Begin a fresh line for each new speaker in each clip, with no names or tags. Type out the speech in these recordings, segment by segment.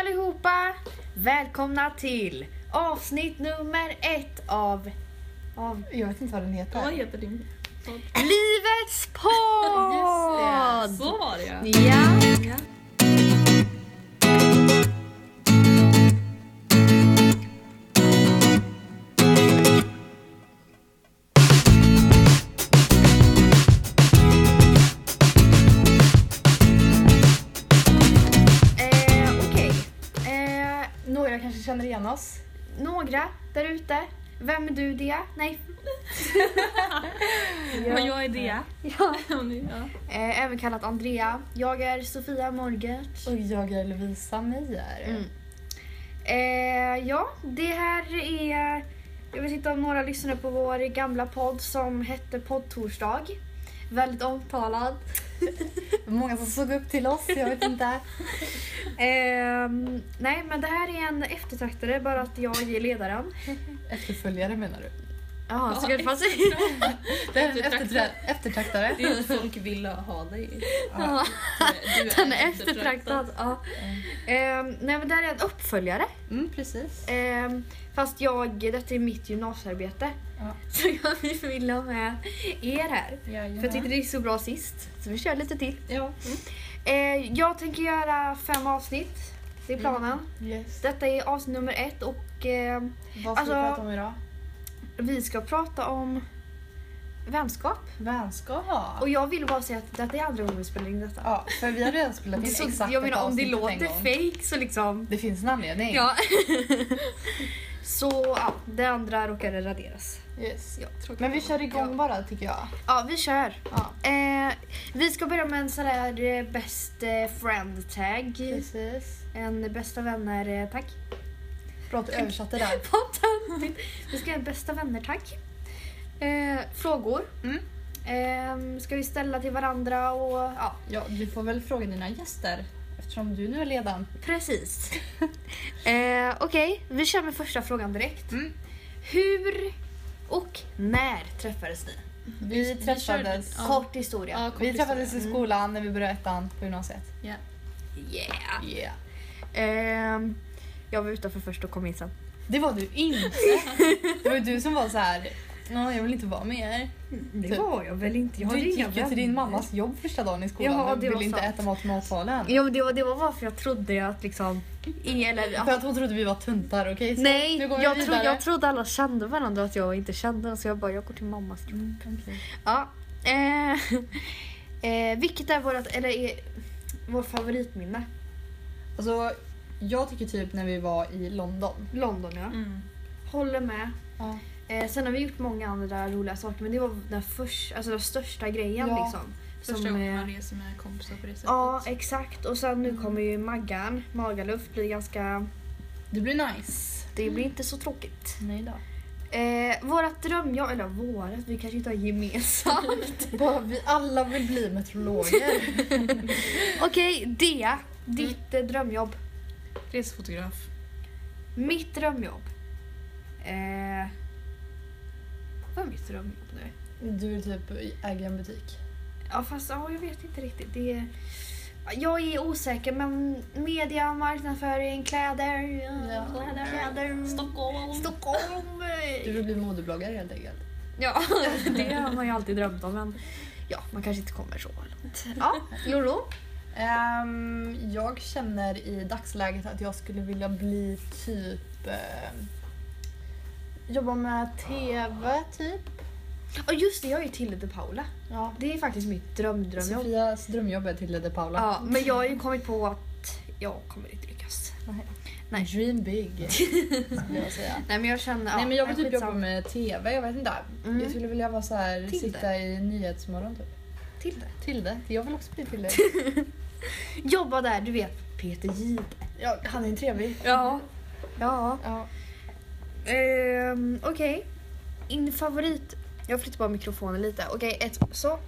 allihopa! Välkomna till avsnitt nummer ett av, av
Jag vet inte vad den heter.
Vad heter din podd?
Livets podd!
Så var det ja.
Ja. Eh, Okej. Eh,
Några kanske känner igen oss.
några där ute. Vem är du det? Nej.
Och jag är Dea.
Ja.
Och ni- Ja.
Eh, även kallat Andrea. Jag är Sofia Morgert.
Och jag är Lovisa Meyer.
Mm. Eh, ja, det här är... Jag vet inte om några lyssnade på vår gamla podd som hette Poddtorsdag. Väldigt omtalad.
Många som såg upp till oss, jag vet inte.
Ehm, nej, men det här är en eftertraktare, bara att jag är ledaren.
Efterföljare menar du?
Jaha,
så kan det
fanns...
Det är en
Eftertraktare.
eftertra- eftertraktare.
Det är att folk vill ha dig.
Ja.
Du
Den är eftertraktad. Ja. Ehm, nej, men det här är en uppföljare.
Mm, precis.
Ehm, fast jag, detta är mitt gymnasiearbete.
Ja.
Så jag vill vill ha med er här. För jag tyckte
det...
det gick så bra sist, så vi kör lite till.
Ja.
Eh, jag tänker göra fem avsnitt. Det
Mm.
är planen.
Yes.
Detta är avsnitt nummer ett och eh,
Vad ska
Alltså-
vi prata om idag?
vi ska prata om vänskap.
Vänskap.
Och jag vill bara säga att detta är andra gången vi spelar in detta.
Ja, för vi har redan spelat in
Det är så,
exakt
jag menar
ett
om det
avsnitt en
låter
gång.
fake så liksom...
Det finns en anledning.
Ja. så ja, det andra råkade raderas.
Yes.
Ja, tråkigt.
Men vi kör igång
Ja.
bara tycker jag.
Ja, vi kör.
Ja.
Eh, vi ska börja med en sån där eh, best eh, friend tag.
Precis.
En bästa vänner eh, tack.
Bra att du översatte där.
Vad töntigt. Vi ska ha en bästa vänner tack. Eh, frågor.
Mm.
Eh, ska vi ställa till varandra och ja,
Ja, du får väl fråga dina gäster eftersom du nu är ledaren.
precis. eh, Okej, vi kör med första frågan direkt.
Mm.
Hur och när träffades ni?
Vi
vi
träffades,
körde- ja.
Kort historia.
Ja, kort
vi träffades i
Mm.
historia.
skolan när vi började ettan på gymnasiet.
Ja.
Yeah.
Yeah.
Ehm, jag var utanför först och kom in sen.
Det var du inte. Det var ju du som var så här. "Nå, jag vill inte vara med er.
Det
Typ.
var jag väl inte. Jag
du
hade inga
gick ju till din
vänner.
mammas jobb första dagen i skolan
Ja,
och
det
ville
var
inte
sant.
äta mat i matsalen.
Jo, men det var, det var varför jag trodde att liksom... Ingen, eller, att
För att hon trodde vi var tuntar, okej? Så,
Nej,
nu går vi
jag, tro,
vidare.
jag trodde alla kände varandra att jag inte kände dem så jag bara, jag går till mammas grupp.
Mm, okej.
Ja. Eh, eh, vilket är vårt, eller är vår favoritminne?
Alltså, jag tycker typ när vi var i London.
London ja.
Mm.
Håller med.
Ja.
Eh, sen har vi gjort många andra roliga saker men det var den, först, alltså den största grejen
Ja.
liksom.
Första
eh,
gången man reser med kompisar på det sättet.
Ja exakt och sen nu kommer ju Maggan, Magaluf blir ganska,
Det blir nice.
det blir inte så tråkigt.
Nej då.
Eh, vårat drömjobb, eller vårat, vi kanske inte har gemensamt.
Bara, vi alla vill bli meteorologer.
Okej, Dea, ditt eh, drömjobb.
Resefotograf.
Mitt drömjobb. Eh, vad är mitt drömjobb nu?
du vill typ äga en butik.
Ja fast ja, jag vet inte riktigt. Det är, jag är osäker men media, marknadsföring, kläder.
Ja.
Kläder. kläder.
Stockholm.
Mm. Stockholm.
Du vill bli modebloggare helt enkelt.
Ja, det har man ju alltid drömt om men ja, man kanske inte kommer så långt. Ja, Lolo.
Ehm, jag känner i dagsläget att jag skulle vilja bli typ... ehm, jobba med TV, typ.
Och just det, jag är ju Tilde de Paula.
Ja.
Det är faktiskt mitt drömdrömjobb.
Sofias drömjobb är till Lede Paula.
Ja, men jag har ju kommit på att jag kommer inte lyckas. nej.
Dream big, skulle jag säga.
Nej men jag känner...
Nej men jag vill typ
skitsamma.
jobba med TV, jag vet inte.
Mm.
Jag typ- skulle vilja vara så här,
Tilde.
sitta i Nyhetsmorgon typ.
Tilde.
Tilde, jag vill också bli Tilde.
Jobba där, du vet. Peter Jihde.
ja, han är trevlig.
Ja. Ja.
Ja.
Ehm, Okej. In favorit... Jag flyttar bara mikrofonen lite. Okej, ett... Så.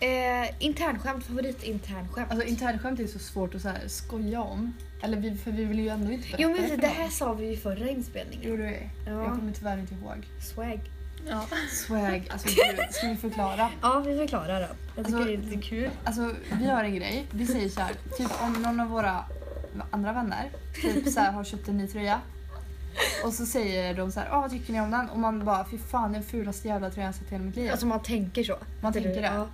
Eh, internskämt. Favorit internskämt.
Alltså internskämt är så svårt att så här, skoja om. Eller vi, för vi vill ju ändå inte berätta
jo men
för
det
någon.
här sa vi ju i förra inspelningen.
Jo det är Jag
Ja.
kommer tyvärr inte ihåg.
Swag.
Ja.
Swag, alltså gud, ska vi förklara?
Ja, vi förklarar den. Jag tycker
Alltså-
det är lite kul.
Alltså vi har en grej, vi säger så här, typ om någon av våra andra vänner. Typ så här, har köpt en ny tröja. Och så säger de så här, "Ah, vad tycker ni om den? Och man bara, fy fan den fulaste jävla tröjan jag sett i hela mitt liv.
Alltså man tänker så.
man tänker det.
Ja.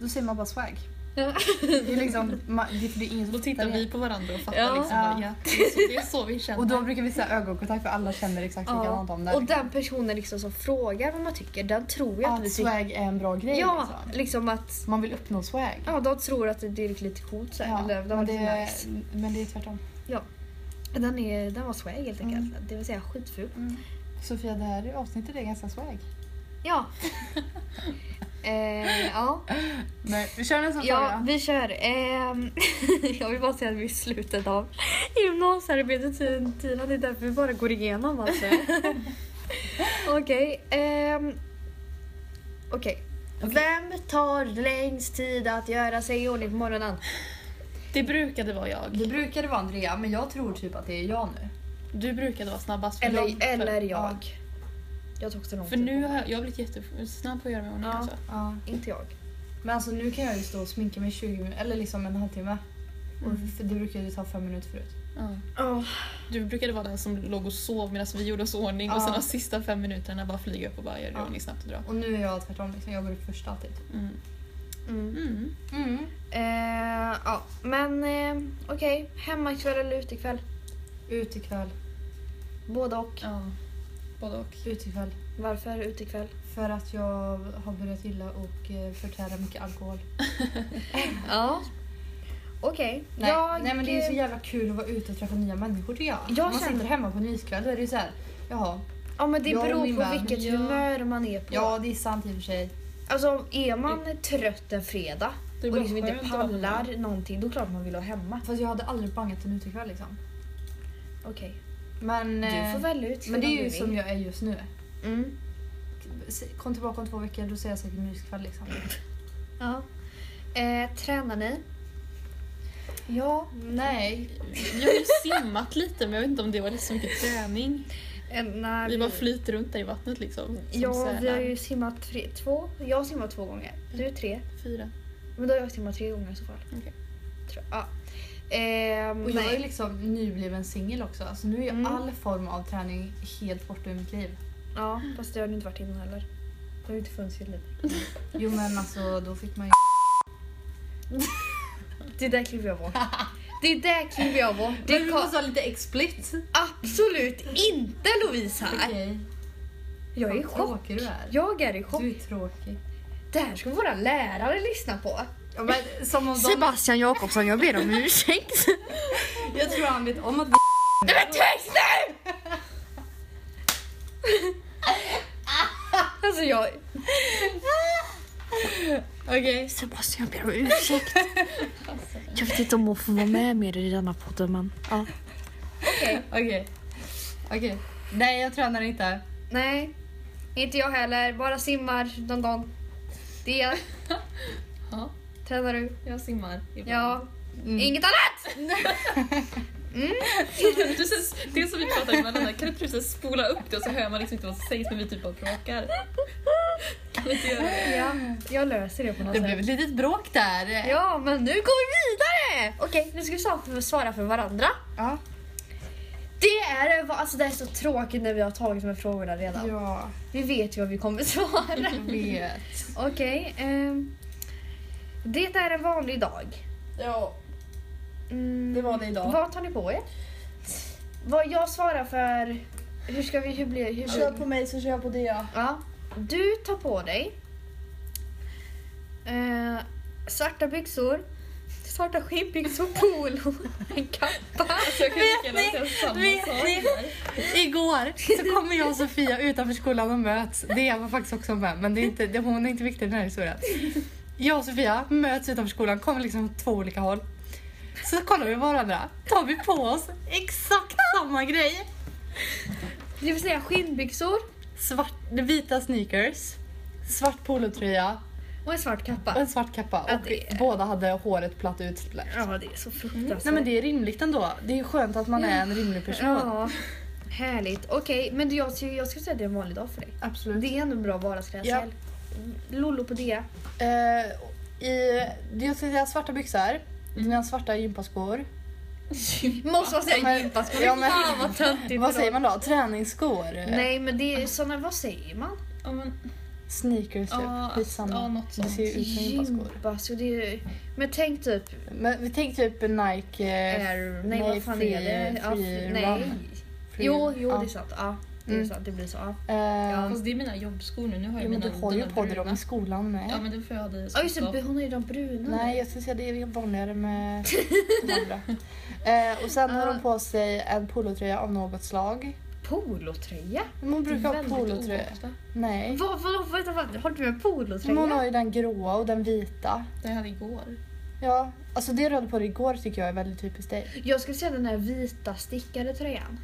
Då säger man bara swag.
Ja.
Det är liksom, man, det är för det är ingen som
Då tittar
fattar det.
vi på varandra och fattar
Ja.
liksom bara, ja, det är så- det är så vi känner.
Och då brukar vi säga ögonkontakt för alla känner exakt likadant om det.
Ja. Och den personen liksom som frågar vad man tycker, den tror ju att
Att
vi tycker...
swag är en bra grej
Ja,
liksom.
liksom att...
Man vill uppnå swag.
Ja, de tror att det är lite coolt så här,
Ja,
eller de
men,
är
det,
lite nice.
men det är tvärtom.
Den, är, den var swag helt
Mm.
enkelt. Det vill säga skitful.
Sofia, det här avsnittet är ganska swag.
Ja. eh, ja.
Nej, vi kör nästa
Ja,
fråga.
vi kör. Ehm, jag vill bara säga att vi är i slutet av gymnasiearbetet Ti- Tina. Det är därför vi bara går igenom alltså. Okej. ehm, Okej. Vem tar längst tid att göra sig i ordning på morgonen?
Det brukade vara jag.
Det brukade vara Andrea, men jag tror typ att det är jag nu.
Du brukade vara snabbast. för
Eller,
långt- för-
eller jag. Jag tog så lång
För
tid.
nu har jag, jag har blivit jättesnabb på att göra mig i ordning
Ja.
alltså.
Ja.
Inte jag.
Men alltså nu kan jag ju stå och sminka mig 20 minuter, eller liksom en halvtimme. Och för det brukade ju ta fem minuter förut.
Ja. Du brukade vara den som låg och sov medan vi gjorde oss i ordning och
Ja.
sen de sista fem minuterna bara flyga upp och bara göra det i
Ja.
ordning snabbt och dra.
Och nu är jag tvärtom, liksom. jag går upp först alltid.
Mm.
Mm.
Mm.
Mm.
Eh, ja, men eh, okej. Hemmakväll eller utekväll?
Ut ikväll,
Båda och.
Ja. Både och.
ut ikväll.
Varför utekväll?
För att jag har börjat gilla och eh, förtära mycket alkohol.
Ja. Okej.
Nej,
Jag-
nej men det är så jävla kul att vara ute och träffa nya människor tycker jag.
Jag
Om man
känner-
sitter hemma på en myskväll då är det ju såhär, jaha.
Ja men det
Jag och
beror
min
på
vän,
vilket
ja.
humör man är på.
Ja det är sant i och för sig.
Alltså är man trött en fredag
Det är
och
bara
liksom inte
skönt att vara
pallar någonting, då är det klart man vill ha hemma.
Fast jag hade aldrig bangat en utekväll liksom.
Okej.
Men,
Du
eh,
får välja ut
men det
vem
är
du
ju
vill.
som jag är just nu.
Mm.
Se- Kom tillbaka om två veckor då säger jag säkert myskväll liksom.
Ja. Eh, tränar ni? Ja.
Nej.
Jag har ju simmat lite men jag vet inte om det var så mycket träning.
Eh, när
Vi bara flyter runt där i vattnet liksom. som
Ja, vi
sälar.
har ju simmat tre, två. Jag har simmat två gånger. Du tre.
Fyra.
Men då har jag simmat tre gånger i så fall.
Okej.
Tror jag. Ja. Ehm,
Och jag är
nej.
liksom nybliven singel också. Alltså nu är ju
Mm.
all form av träning helt borta ur mitt liv.
Ja, fast det har du inte varit innan heller. Det har ju inte funnits i ditt liv.
Jo men alltså då fick man ju...
Det där kliver jag bort. Det där kliver jag bort. Det kan
ha lite explicit.
absolut inte Lovisa.
Okej.
Jag är i
Vad
chock.
tråkig du är.
Jag är i chock.
Du är tråkig.
Det här ska våra lärare lyssna på.
Ja, men, som om de,
Sebastian Jakobsson, jag ber om ursäkt.
jag tror han vet om att
Nej men tyst nu! Alltså jag...
Okej.
Sebastian, jag ber om ursäkt. Jag vet inte om hon får vara med mer i denna podden men... Ja.
Okej. Okej. Nej, jag tränar inte.
Nej, inte jag heller. Bara simmar någon gång. Det
Ja,
tränar du.
jag simmar. ibland.
Ja.
Mm.
Inget annat!
Du ses, det är som vi pratar med varandra, kan inte du så spola upp det och så hör man liksom inte vad som sägs men vi typ bara bråkar. Kan vi inte göra det?
Ja, jag löser det på något
Det
sätt.
blev ett litet bråk där.
Ja, men nu går vi vidare! Okej, nu ska vi svara för- svara för varandra.
Ja.
Det är, alltså det är så tråkigt när vi har tagit de här frågorna redan.
Ja,
Vi vet ju vad vi kommer svara.
jag vet.
Okej. ehm, det är en vanlig dag.
Ja.
Mm,
Det var det idag.
Vad tar ni på er? Vad jag svarar för... Hur ska vi... Hur blir hur blir-
mig så kör jag på det.
Ja. Du tar på dig eh, svarta byxor, svarta skinnbyxor, polo, en kappa.
Så jag kan lika gärna säga samma
Vet
sak
ni?
här.
Igår så kommer jag och Sofia utanför skolan och möts. Det var faktiskt också med, men det är inte, det, hon är inte viktig i den här historien. Jag och Sofia möts utanför skolan, kommer liksom från två olika håll. Så kollar vi på varandra, tar vi på oss exakt samma grej.
Det vill säga skinnbyxor
Svart, vita sneakers, svart polotröja,
och en svart
Och
kappa.
en svart kappa och
Ja, det är-
båda hade håret platt utsläppt.
Ja, det är så fruktansvärt.
Mm. Nej men det är rimligt ändå. Det är skönt att man är en rimlig person.
Ja, härligt. Okej, men jag, jag skulle säga att det är en vanlig dag för dig.
Absolut.
Det är ändå en bra vardagsklädsel. Lollo på det. Mm.
Eh, i, jag skulle säga svarta byxor, dina svarta gympaskor,
Måste man säga
Men-
gympaskor?
ja, men-
Fan vad töntigt.
Vad säger man då? Träningsskor?
Nej men det är såna, vad säger man?
Ja, men,
Sneakers typ?
Ja,
Skitsamma.
ja, något
det ser ju ut som gympaskor.
Gympaskor. Det är ju... Men tänk typ
Men vi tänker typ en Nike... eh,
Air... Nej, vad fan
free,
är det? Ja,
free
nej.
run. Free-
Jo, jo
ja.
det är sant. Ja, det är
Mm.
sant. Det blir så. Ja,
Eh,
fast det är mina jobbskor nu. Nu har
jo,
jag
men
mina
du har ju
dina
på dig dem
bruna.
i skolan med.
Ja men det får jag ha dig
Ja, just det. Hon har ju de bruna.
Nej, jag skulle säga det är ju vanligare med de andra. Eh, och sen har
Ja.
de på sig en polotröja av något slag.
Polotröja?
Men hon brukar ha
Väldigt
polotröja. Nej.
Vad, vad, vad, vad, har du en
Men hon
polotröja?
har ju den gråa och den vita.
Det hade igår.
Ja, alltså det du hade på dig igår tycker jag är väldigt typiskt dig.
Jag skulle säga den här vita stickade tröjan.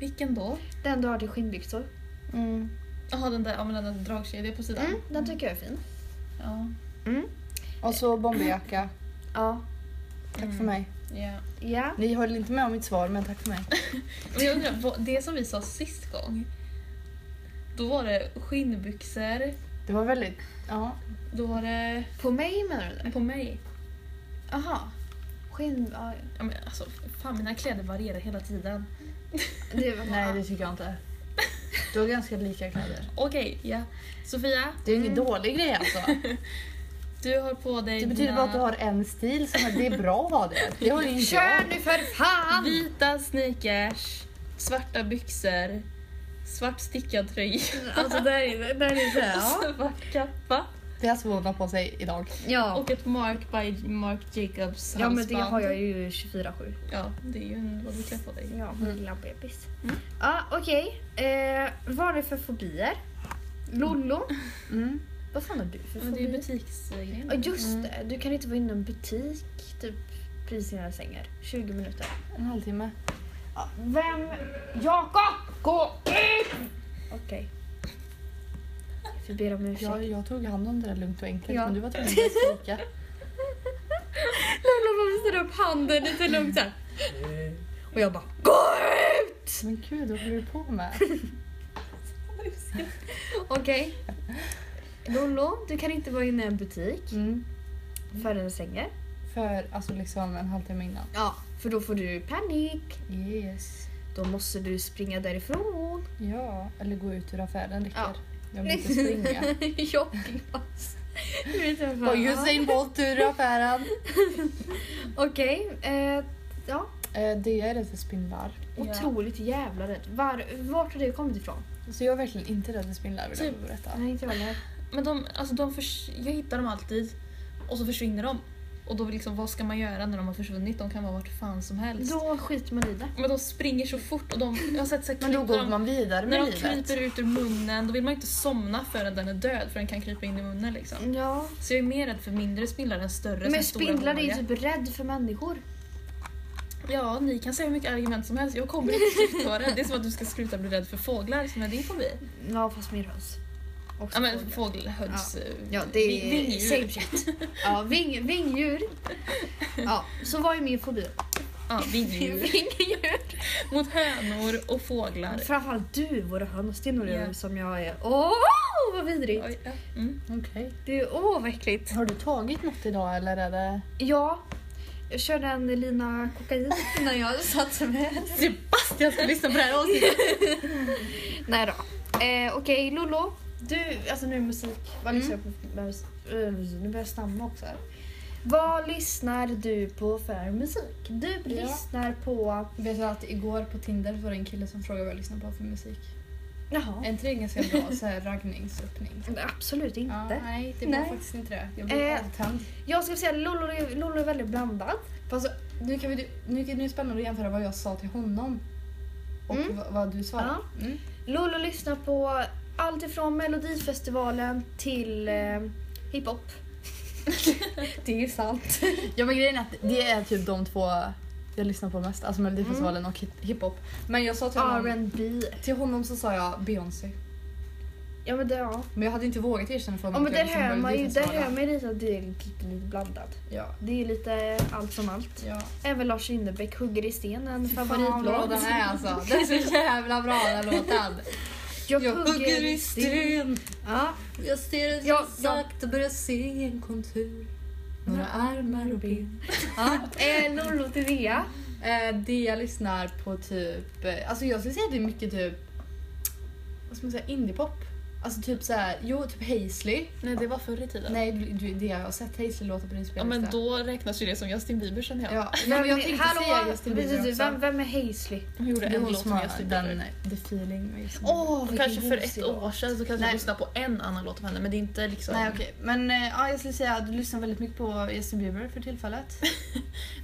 Vilken då?
Den du har till skinnbyxor.
Mm.
Jaha den där, ja, men den där dragkedjan på sidan.
Mm, den tycker jag är fin.
Ja.
Och så bomberjacka.
Ja.
Tack
Mm.
för mig.
ja.
Ja.
Ni håller inte med om mitt svar, men tack för mig.
Men jag undrar, vad- det som vi sa sist gång. Då var det skinnbyxor,
Det var väldigt... Ja.
då var det...
På mig menar du? det?
På mig.
Jaha. Skinn... Ja,
Ja, men alltså, fan mina kläder varierar hela tiden.
det var
Nej det tycker jag inte. Du har ganska lika kläder.
Okej, ja. Sofia,
Det är ju ingen dålig grej alltså.
du har på dig
Det betyder
dina
bara att du har en stil som är, det är bra att ha det. Det har ju inte
Kör
jag.
nu för fan!
vita sneakers, svarta byxor, svart stickad tröja
Alltså där är, där är det. Ja.
och svart kappa.
Det är alltså vad hon har på sig idag.
Ja.
Och ett Mark by Mark Jacobs
Ja men det
halsband.
har jag ju 24-7.
Ja, det är ju en, vad du klär på dig.
Ja,
Mm.
min lilla bebis. Ja, okej. Eh, vad är det för fobier? Lollo?
Mm.
Vad fan har du för
Men det är ju
fobier?
butiksgrejen.
Ja just
Mm.
det, du kan inte vara inne i en butik typ precis innan jag sänger. 20 minuter.
En halvtimme.
Vem? Jakob! Gå ut! Okej. Jag ber om ursäkt.
Jag, jag tog hand om det där lugnt och enkelt,
Ja.
men du var tvungen att skrika.
Lola bara visar upp handen lite lugnt såhär. Och jag bara GÅ UT!
Men gud, vad håller du på med?
Okej. Lollo, du kan inte vara inne i en butik
Mm.
förrän jag sänger.
För alltså liksom en halvtimme innan.
Ja. För då får du panik.
Yes.
Då måste du springa därifrån.
Ja, eller gå ut ur affären, Rickard.
Ja.
Jag vill inte springa.
Jobbigast. Du vet jag fan.
Var Usain Bolt ur affären?
Okej. Eh, ja.
Eh, det är rädd för spindlar.
Ja.
Otroligt jävla rädd. Var, vart har det kommit ifrån?
Så jag är verkligen inte rädd för spindlar vill jag berätta.
Nej, inte jag heller.
Men de, alltså de förs- jag hittar dem alltid och så försvinner de. Och då liksom, vad ska man göra när de har försvunnit? De kan vara vart fan som helst.
Då skiter man i det.
Men de springer så fort och de, jag har sett så här
Men då
kryper
går
de-
man vidare
När
med
de
livet.
kryper ut ur munnen, då vill man ju inte somna förrän den är död för den kan krypa in i munnen liksom.
Ja.
Så jag är mer rädd för mindre spindlar än större som är
Men
stora
spindlar är ju
håriga.
typ rädd för människor.
Ja, ni kan säga hur mycket argument som helst. Jag kommer inte riktigt vara rädd. Det är som att du ska sluta bli rädd för fåglar som är din fobi.
Ja, fast mer höns. Också
Ja men eh,
fåglar.
fågelhöns...
Ja, det är
vingdjur.
same shit. Ja, ving, vingdjur. Ja, så vad är min fobi?
Ja, vingdjur.
Vingdjur.
Mot hönor och fåglar.
Framförallt du, våra höns. Det är nog
Ja.
det som jag är... Åh, vad vidrigt!
Oj, ja. mm.
Okej.
Det är, åh, vad äckligt.
Har du tagit något idag eller är det...
Ja, jag körde en lina kokain innan jag satte mig här.
Sebastian ska lyssna på det här avsnittet!
Nej då. Eh, Okej, Lollo. Du, alltså nu är musik. Vad lyssnar jag på för musik? Eh, Nu börjar jag stamma också här. Vad lyssnar du på för musik? Du lyssnar på...
Vet du att igår på Tinder var det en kille som frågade vad jag lyssnar på för musik.
Jaha.
Är inte det ganska bra så här raggningsöppning?
Absolut
Ja,
inte.
nej, det var
Nej.
faktiskt inte det. Jag blev
Eh.
avtänd.
Jag skulle säga Lollo är, Lollo är väldigt blandad.
Fast nu, kan vi, nu, nu är det spännande att jämföra vad jag sa till honom och
Mm.
vad, vad du svarade. Mm.
Lollo lyssnar på allt ifrån Melodifestivalen till eh, hiphop.
Det är ju sant.
Ja men grejen är att det är typ de två jag lyssnar på mest, alltså Melodifestivalen och hit- hiphop. Men jag sa
Ah,
till honom,
R&B.
till honom så sa jag Beyoncé.
Ja men det, ja.
Men jag hade inte vågat erkänna för
Ja
honom
men där
jag lyssnar
hör
på
man ju, där hör
Melodifestivalen.
man ju lite att det är lite, lite blandad.
Ja,
Det är lite allt som allt.
ja.
Även Lars Winnerbäck, Hugger i sten, en
Fan vad bra
favoritlåt.
den är alltså. Den är så jävla bra den låten.
Jag,
Jag hugger i sten,
Ja,
jag ser det
Ja,
så
ja.
sakta börjar se en kontur.
Några armar och ben. Ja.
Eh, Lollo till Rea.
Eh, det jag lyssnar på typ, eh, alltså jag skulle säga att det är mycket typ, vad ska man säga, indiepop. Alltså typ såhär, jo typ Hazley.
Nej, det var förr i tiden.
Nej, du, du, det jag har sett Hazley-låtar på din
Ja,
spellista.
men då räknas ju det som Justin Bieber känner jag.
Ja, men jag tänkte
Hallå,
säga Justin
vet
Bieber
du,
också.
vem, vem är Hazley?
De gjorde
Det är
en
hon
låt
som
med
har
Justin
den,
Bieber.
The feeling med Justin Bieber.
Åh, vilken
Kanske för ett
gosig
år
låt.
sedan så kanske
Nej.
jag lyssnade på en annan låt av henne men det är inte liksom...
Nej okej, men eh, ja, jag skulle säga att du lyssnar väldigt mycket på Justin Bieber för tillfället.
Nej,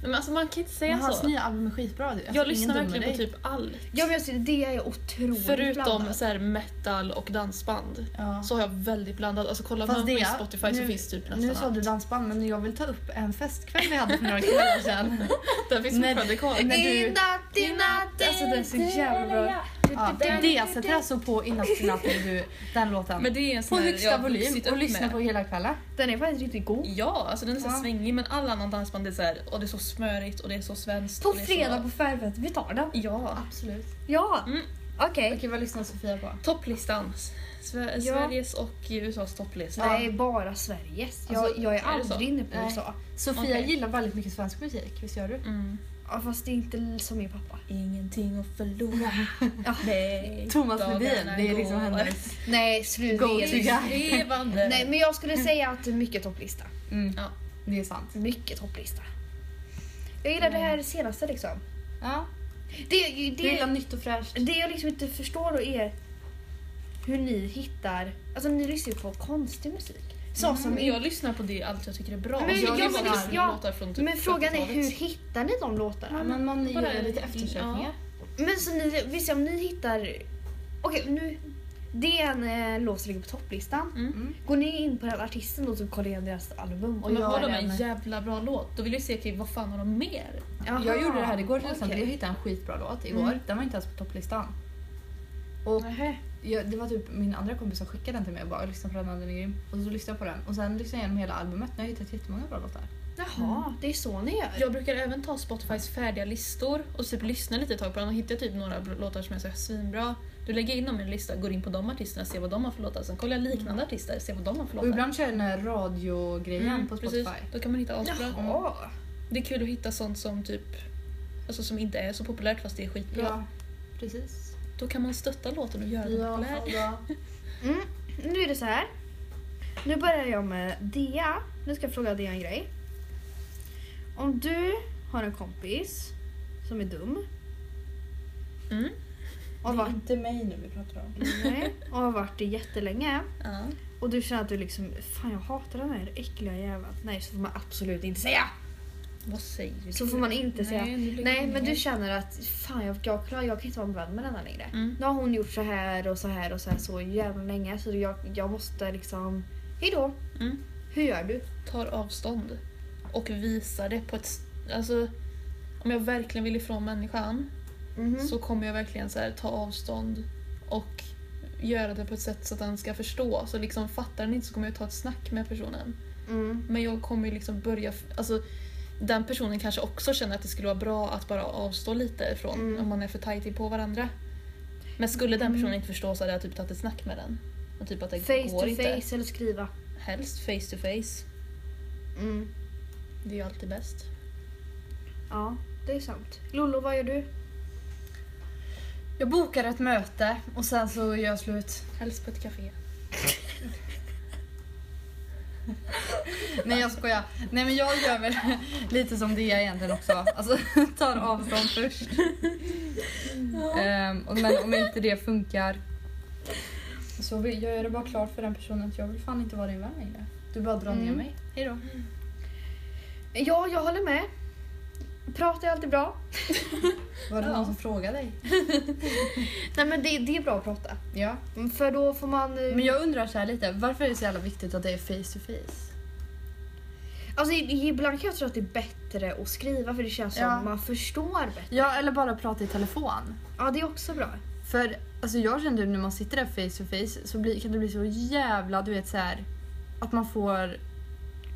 Men alltså man kan inte säga
Men hans
så.
nya album är skitbra. du. Alltså,
jag
ingen
lyssnar
dum med
verkligen på
dig.
typ allt.
Ja, men jag ser, det är otroligt
Förutom
blandat.
så här metal och dansband
Ja.
så har jag väldigt blandat. Alltså kollar
Fast
man
det-
på Spotify så
nu-
finns typ
Nu
nästan
sa
allt.
du dansband men jag vill ta upp en festkväll vi hade för några kvällar sedan.
Den finns
Nej.
fortfarande kvar.
när du-
I natt, i natt,
Alltså den är så jävla bra. Ja, det sätter jag alltså på innan natten du den låten.
Men det är en
på
sån här
högsta
jag har
volym
vuxit
och
upp
lyssna
med.
på hela kvällen.
Den är faktiskt riktigt god.
Ja, alltså den är så här
Ja.
svängig men all annan dansband är så här, och det är så smörigt och det är så svenskt.
På
och det är så-
fredag på Färgfest, vi tar den.
Ja.
Absolut.
Ja,
Mm.
okej.
Okej, vad lyssnar Sofia på?
Topplistan. Sve-
Ja.
Sveriges och USAs topplista.
Nej, bara Sveriges. Jag,
Alltså,
jag är,
är det så?
aldrig inne på
Nej.
USA.
Sofia
Okej.
gillar väldigt mycket svensk musik, visst gör du?
Mm.
Ja, fast det är inte som min pappa.
Ingenting att förlora. Nej.
Thomas
Dagarna
Ledin, det är liksom
går.
hennes...
Nej, sluta.
Go to guy.
Levande.
Nej, men jag skulle säga att det är mycket topplista.
Mm.
Ja.
Det är sant.
Mycket topplista. Jag gillar det här senaste liksom.
Ja.
Det, det,
Du gillar
det,
nytt och fräscht.
jag liksom inte förstår då är hur ni hittar... Alltså ni lyssnar ju på konstig musik. Så som
Men jag lyssnar på det allt jag tycker är bra.
Men
Så jag
jag
lyssnar
menar-
på
ja,
låtar från typ
Men frågan är
70-talet.
hur hittar ni de låtarna?
Men man
Bara-
gör lite eftersökningar.
Men så ni, visst om ni hittar... Okej, nu... Det är en eh, låt som ligger på topplistan.
Mm.
Mm.
Går ni in på den artisten och typ kollar igenom deras album?
Men har
jag
de
är
en
en-
jävla bra låt, då vill jag se okej, vad fan har de mer?
Jaha.
Jag gjorde det här igår till
Okej.
exempel. Jag hittade en skitbra låt igår.
Mm.
Den var inte ens på topplistan. Och
Nähä.
jag, det var typ min andra kompis som skickade den till mig och bara lyssna på den, den är grym. Och så lyssnade jag på den och sen lyssnade jag igenom hela albumet. Nu har jag hittat jättemånga bra låtar.
Jaha, det är så ni gör?
Jag brukar även ta Spotifys färdiga listor och typ lyssna lite ett tag på dem och hittar typ några bl- låtar som är så här svinbra. Du lägger in dem i en lista, går in på de artisterna, ser vad de har för låtar. Sen kollar jag liknande
Mm.
artister, ser vad de har för låtar.
Och ibland kör jag den här radiogrejen
Mm,
på Spotify.
precis. Då kan man hitta asbra.
Jaha.
Det är kul att hitta sånt som typ Alltså som inte är så populärt fast det är skitbra.
Ja, precis.
Då kan man stötta låten och göra den
Ja,
populär.
Mm. Nu är det så här. Nu börjar jag med Dia. Nu ska jag fråga Dia en grej. Om du har en kompis som är dum
Mm.
och har varit,
inte mig nu vi pratar om.
nej, och har varit det jättelänge
Ja.
och du känner att du liksom fan jag hatar den här äckliga jäveln. Nej så får man absolut inte säga.
Vad säger du?
Så får man inte säga.
Nej, nu lägger
Nej
jag
men du
ner.
känner att fan jag, jag, klarar, jag kan inte vara en vän med den här längre.
Mm.
Nu har hon gjort så här och så här och så här så jävla länge så jag, jag måste liksom, hejdå.
Mm.
Hur gör du?
tar avstånd och visar det på ett... s- Alltså, om jag verkligen vill ifrån människan
Mhm.
så kommer jag verkligen så här, ta avstånd och göra det på ett sätt så att den ska förstå. Så liksom fattar den inte så kommer jag ta ett snack med personen.
Mm.
Men jag kommer ju liksom börja... f- Alltså, den personen kanske också känner att det skulle vara bra att bara avstå lite ifrån
Mm.
om man är för tajt på varandra. Men skulle den personen
Mm.
inte förstå så hade jag typ tagit ett snack med den. Och typ att det
Face
går
to
inte.
face eller skriva.
Helst face to face.
Mm.
Det är ju alltid bäst.
Ja, det är sant. Lollo, vad gör du?
Jag bokar ett möte och sen så gör jag slut.
Helst på ett café.
Nej jag skojar. Nej men jag gör väl lite som det är egentligen också. Alltså tar avstånd först. Ehm, och men om inte det funkar så vill- gör jag det bara klart för den personen att jag vill fan inte vara din vän längre. Du bara drar ner
Mm.
mig. Hejdå.
Ja, jag håller med. Pratar är alltid bra.
Var det
Ja.
någon som frågade dig?
Nej men det, det är bra att prata.
Ja.
Mm, För då får man... eh,
Men jag undrar så här lite, varför är det så jävla viktigt att det är face to face?
Alltså i- ibland kan jag tro att det är bättre att skriva för det känns
Ja.
som man förstår bättre.
Ja, eller bara prata i telefon.
Ja, det är också bra.
För alltså, jag kände när man sitter där face to face så blir, kan det bli så jävla, du vet så här att man får,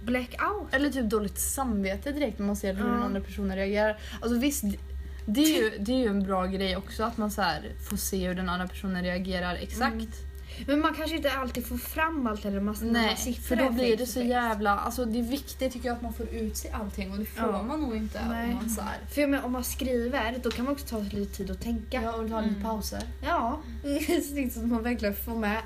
Blackout.
eller typ dåligt samvete direkt när man ser hur den
Ja.
andra personen reagerar. Alltså visst, det Mm. är ju, det är ju en bra grej också att man så här får se hur den andra personen reagerar exakt.
Men man kanske inte alltid får fram allt eller massa
Nej, för då blir det så
jävla...
jävla... Alltså det är viktigt tycker jag att man får ut sig allting och det får
Ja.
man nog inte
Nej.
om man så här,
För jag menar, om man skriver då kan man också ta sig lite tid att tänka.
Ja, och ta lite
Mm.
pauser.
Ja, så det är så att man verkligen får med allt.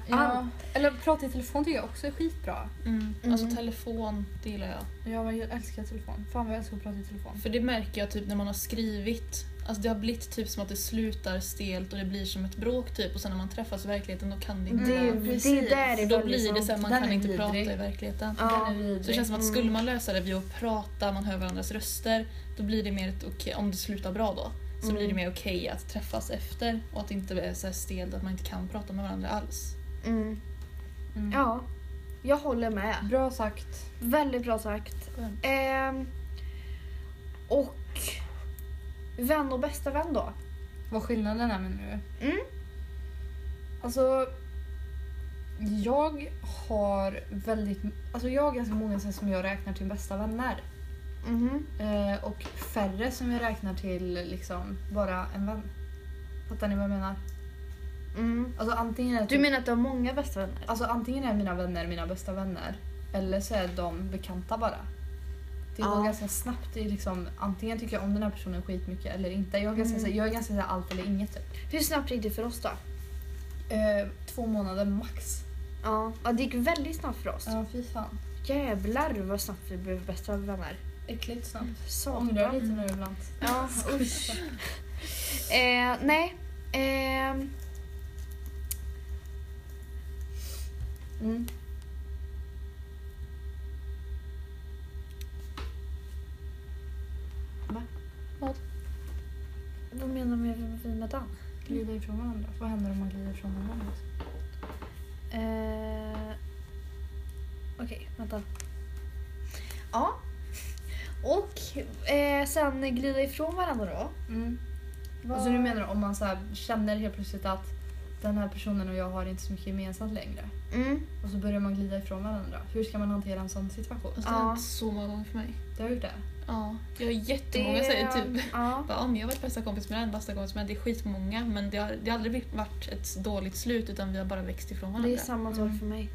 Ja. Eller prata i telefon tycker jag också är skitbra.
Mm. Alltså
Mm.
telefon, det gillar jag.
Ja, jag älskar telefon. Fan vad jag älskar att prata i telefon.
För det märker jag typ när man har skrivit. Alltså det har blivit typ som att det slutar stelt och det blir som ett bråk typ och sen när man träffas i verkligheten då kan det inte
Det,
vara-
Mm,
det,
precis.
där är Mm.
Då
väldigt
blir det
sant.
så här, man
Den
kan
är
inte
vidrig.
prata i verkligheten.
Ja.
Så det känns som att skulle man lösa det via att prata, man hör varandras röster, då blir det mer ett okej, om det slutar bra då, så
Mm.
blir det mer okej att träffas efter och att det inte är så här stelt att man inte kan prata med varandra alls.
Mm.
Mm.
Ja, jag håller med.
Bra sagt.
Väldigt bra sagt.
Skönt.
Ehm, och vän och bästa vän då?
Vad skillnaden är menar du?
Mm.
Alltså, jag har väldigt... Alltså jag har ganska många så här som jag räknar till bästa vänner.
Mhm.
Eh, och färre som jag räknar till liksom bara en vän. Fattar ni vad jag menar?
Mm.
Alltså antingen är det
Du
typ-
menar att du har många bästa vänner?
Alltså antingen är mina vänner mina bästa vänner eller så är de bekanta bara. Det går
Ja.
ganska snabbt. Det är liksom, antingen tycker jag om den här personen skitmycket eller inte. Jag är ganska,
Mm.
så- jag är ganska så här, allt eller inget. Typ.
Hur snabbt gick det för oss då?
Eh, två månader max.
Ja, ja det gick väldigt snabbt för oss.
Ja, fy fan.
Jävlar vad snabbt vi blev bästa vänner.
Äckligt snabbt. Ångrar
Satan.
lite nu ibland.
Ja, usch. eh, nej. Ehm,
Mm.
vad menar du med vi med den?
Glida ifrån varandra. Vad händer om man glider ifrån varandra?
Eh, Okej, vänta. Ja. Och eh, sen glida ifrån varandra då.
Mm. Alltså du menar om man så här, känner helt plötsligt att den här personen och jag har inte så mycket gemensamt längre.
Mm.
Och så börjar man glida ifrån varandra. Hur ska man hantera en sån situation?
Alltså, det har
Ja.
hänt så många gånger för mig.
Det har gjort det.
Ja, jag har jättemånga säger typ
Ja.
bara, ja, men jag har varit bästa kompis med den, bästa kompis med den. Det är skitmånga men det har, det har aldrig blivit- varit ett dåligt slut utan vi har bara växt ifrån varandra.
Det är samma sak för mig.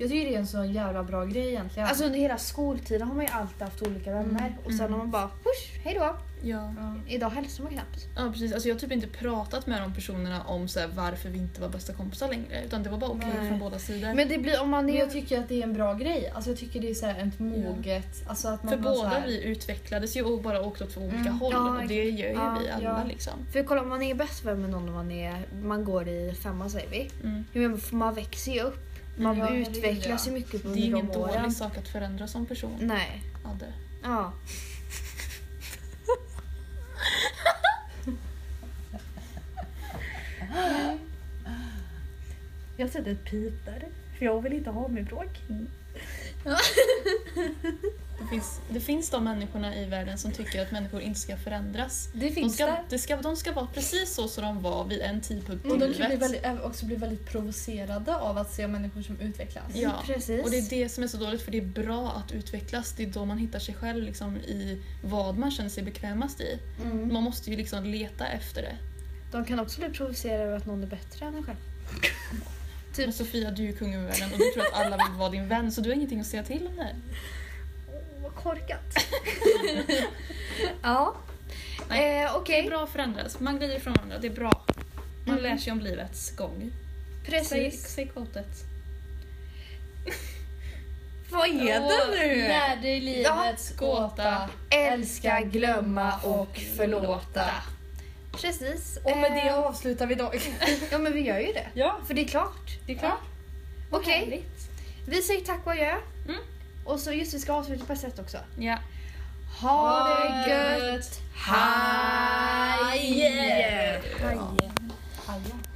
Jag tycker det är en så jävla bra grej egentligen.
Alltså under hela skoltiden har man ju alltid haft olika vänner och sen
Mm.
har man bara push, hej då.
ja.
ja.
Idag hälsar man knappt.
ja, precis. Alltså, jag har typ inte pratat med de personerna om så här, varför vi inte var bästa kompisar längre utan det var bara okej
Nej.
från båda sidor.
Men det blir om man
Men
är...
jag tycker att det är en bra grej. Alltså jag tycker det är så här ett moget... Alltså att man
För
bara så
båda
här,
vi utvecklades ju och bara åkte åt två olika
Mm.
håll
Ja,
och det gör ju
ja,
vi alla
ja.
liksom.
För kolla om man är bäst vän med någon och man, är, man går i femma säger vi.
Mm.
Jag menar, för Man växer ju upp. Man
Ja, herregud,
utvecklas
ja.
ju mycket
Det är ju
under
ingen
de åren. Mm.
dålig sak att förändra som person.
Nej.
Adde.
Ja. Jag sätter ett pip där, för jag vill inte ha mer bråk.
Det finns, det finns de människorna i världen som tycker att människor inte ska förändras.
Det
De
finns
ska,
det.
det ska, de ska vara precis så som de var vid en tidpunkt i
Och de kan bli
livet.
väldigt, även också bli väldigt provocerade av att se människor som utvecklas.
Ja.
Precis.
Och det är det som är så dåligt för det är bra att utvecklas. Det är då man hittar sig själv liksom, i vad man känner sig bekvämast i.
mm.
Man måste ju liksom leta efter det.
De kan också bli provocerade över att någon är bättre än en själv. Typ.
Men Sofia, du är ju kung över världen och du tror att alla vill vara din vän så du har ingenting att säga till om där.
Åh, vad korkat. ja.
Nej.
Eh,
Det
Okej,
är bra att förändras. Man glider ifrån varandra. Det är bra. Man
Mm.
lär sig om livets gång. Säg,
precis.
säg quotet.
Vad är
Åh,
det nu?
Lär dig livets
Ja.
gåta.
Älska, glömma och förlåta. Precis.
Och med det
Eh,
avslutar vi idag.
Ja men vi gör ju det.
ja,
För det är klart.
det är klart.
Okej,
Härligt.
vi säger tack och adjö.
Mm.
Och så just vi ska avsluta på ett sätt också.
Ja.
Ha det gött!
Hajen!
Hajen.
Hajen.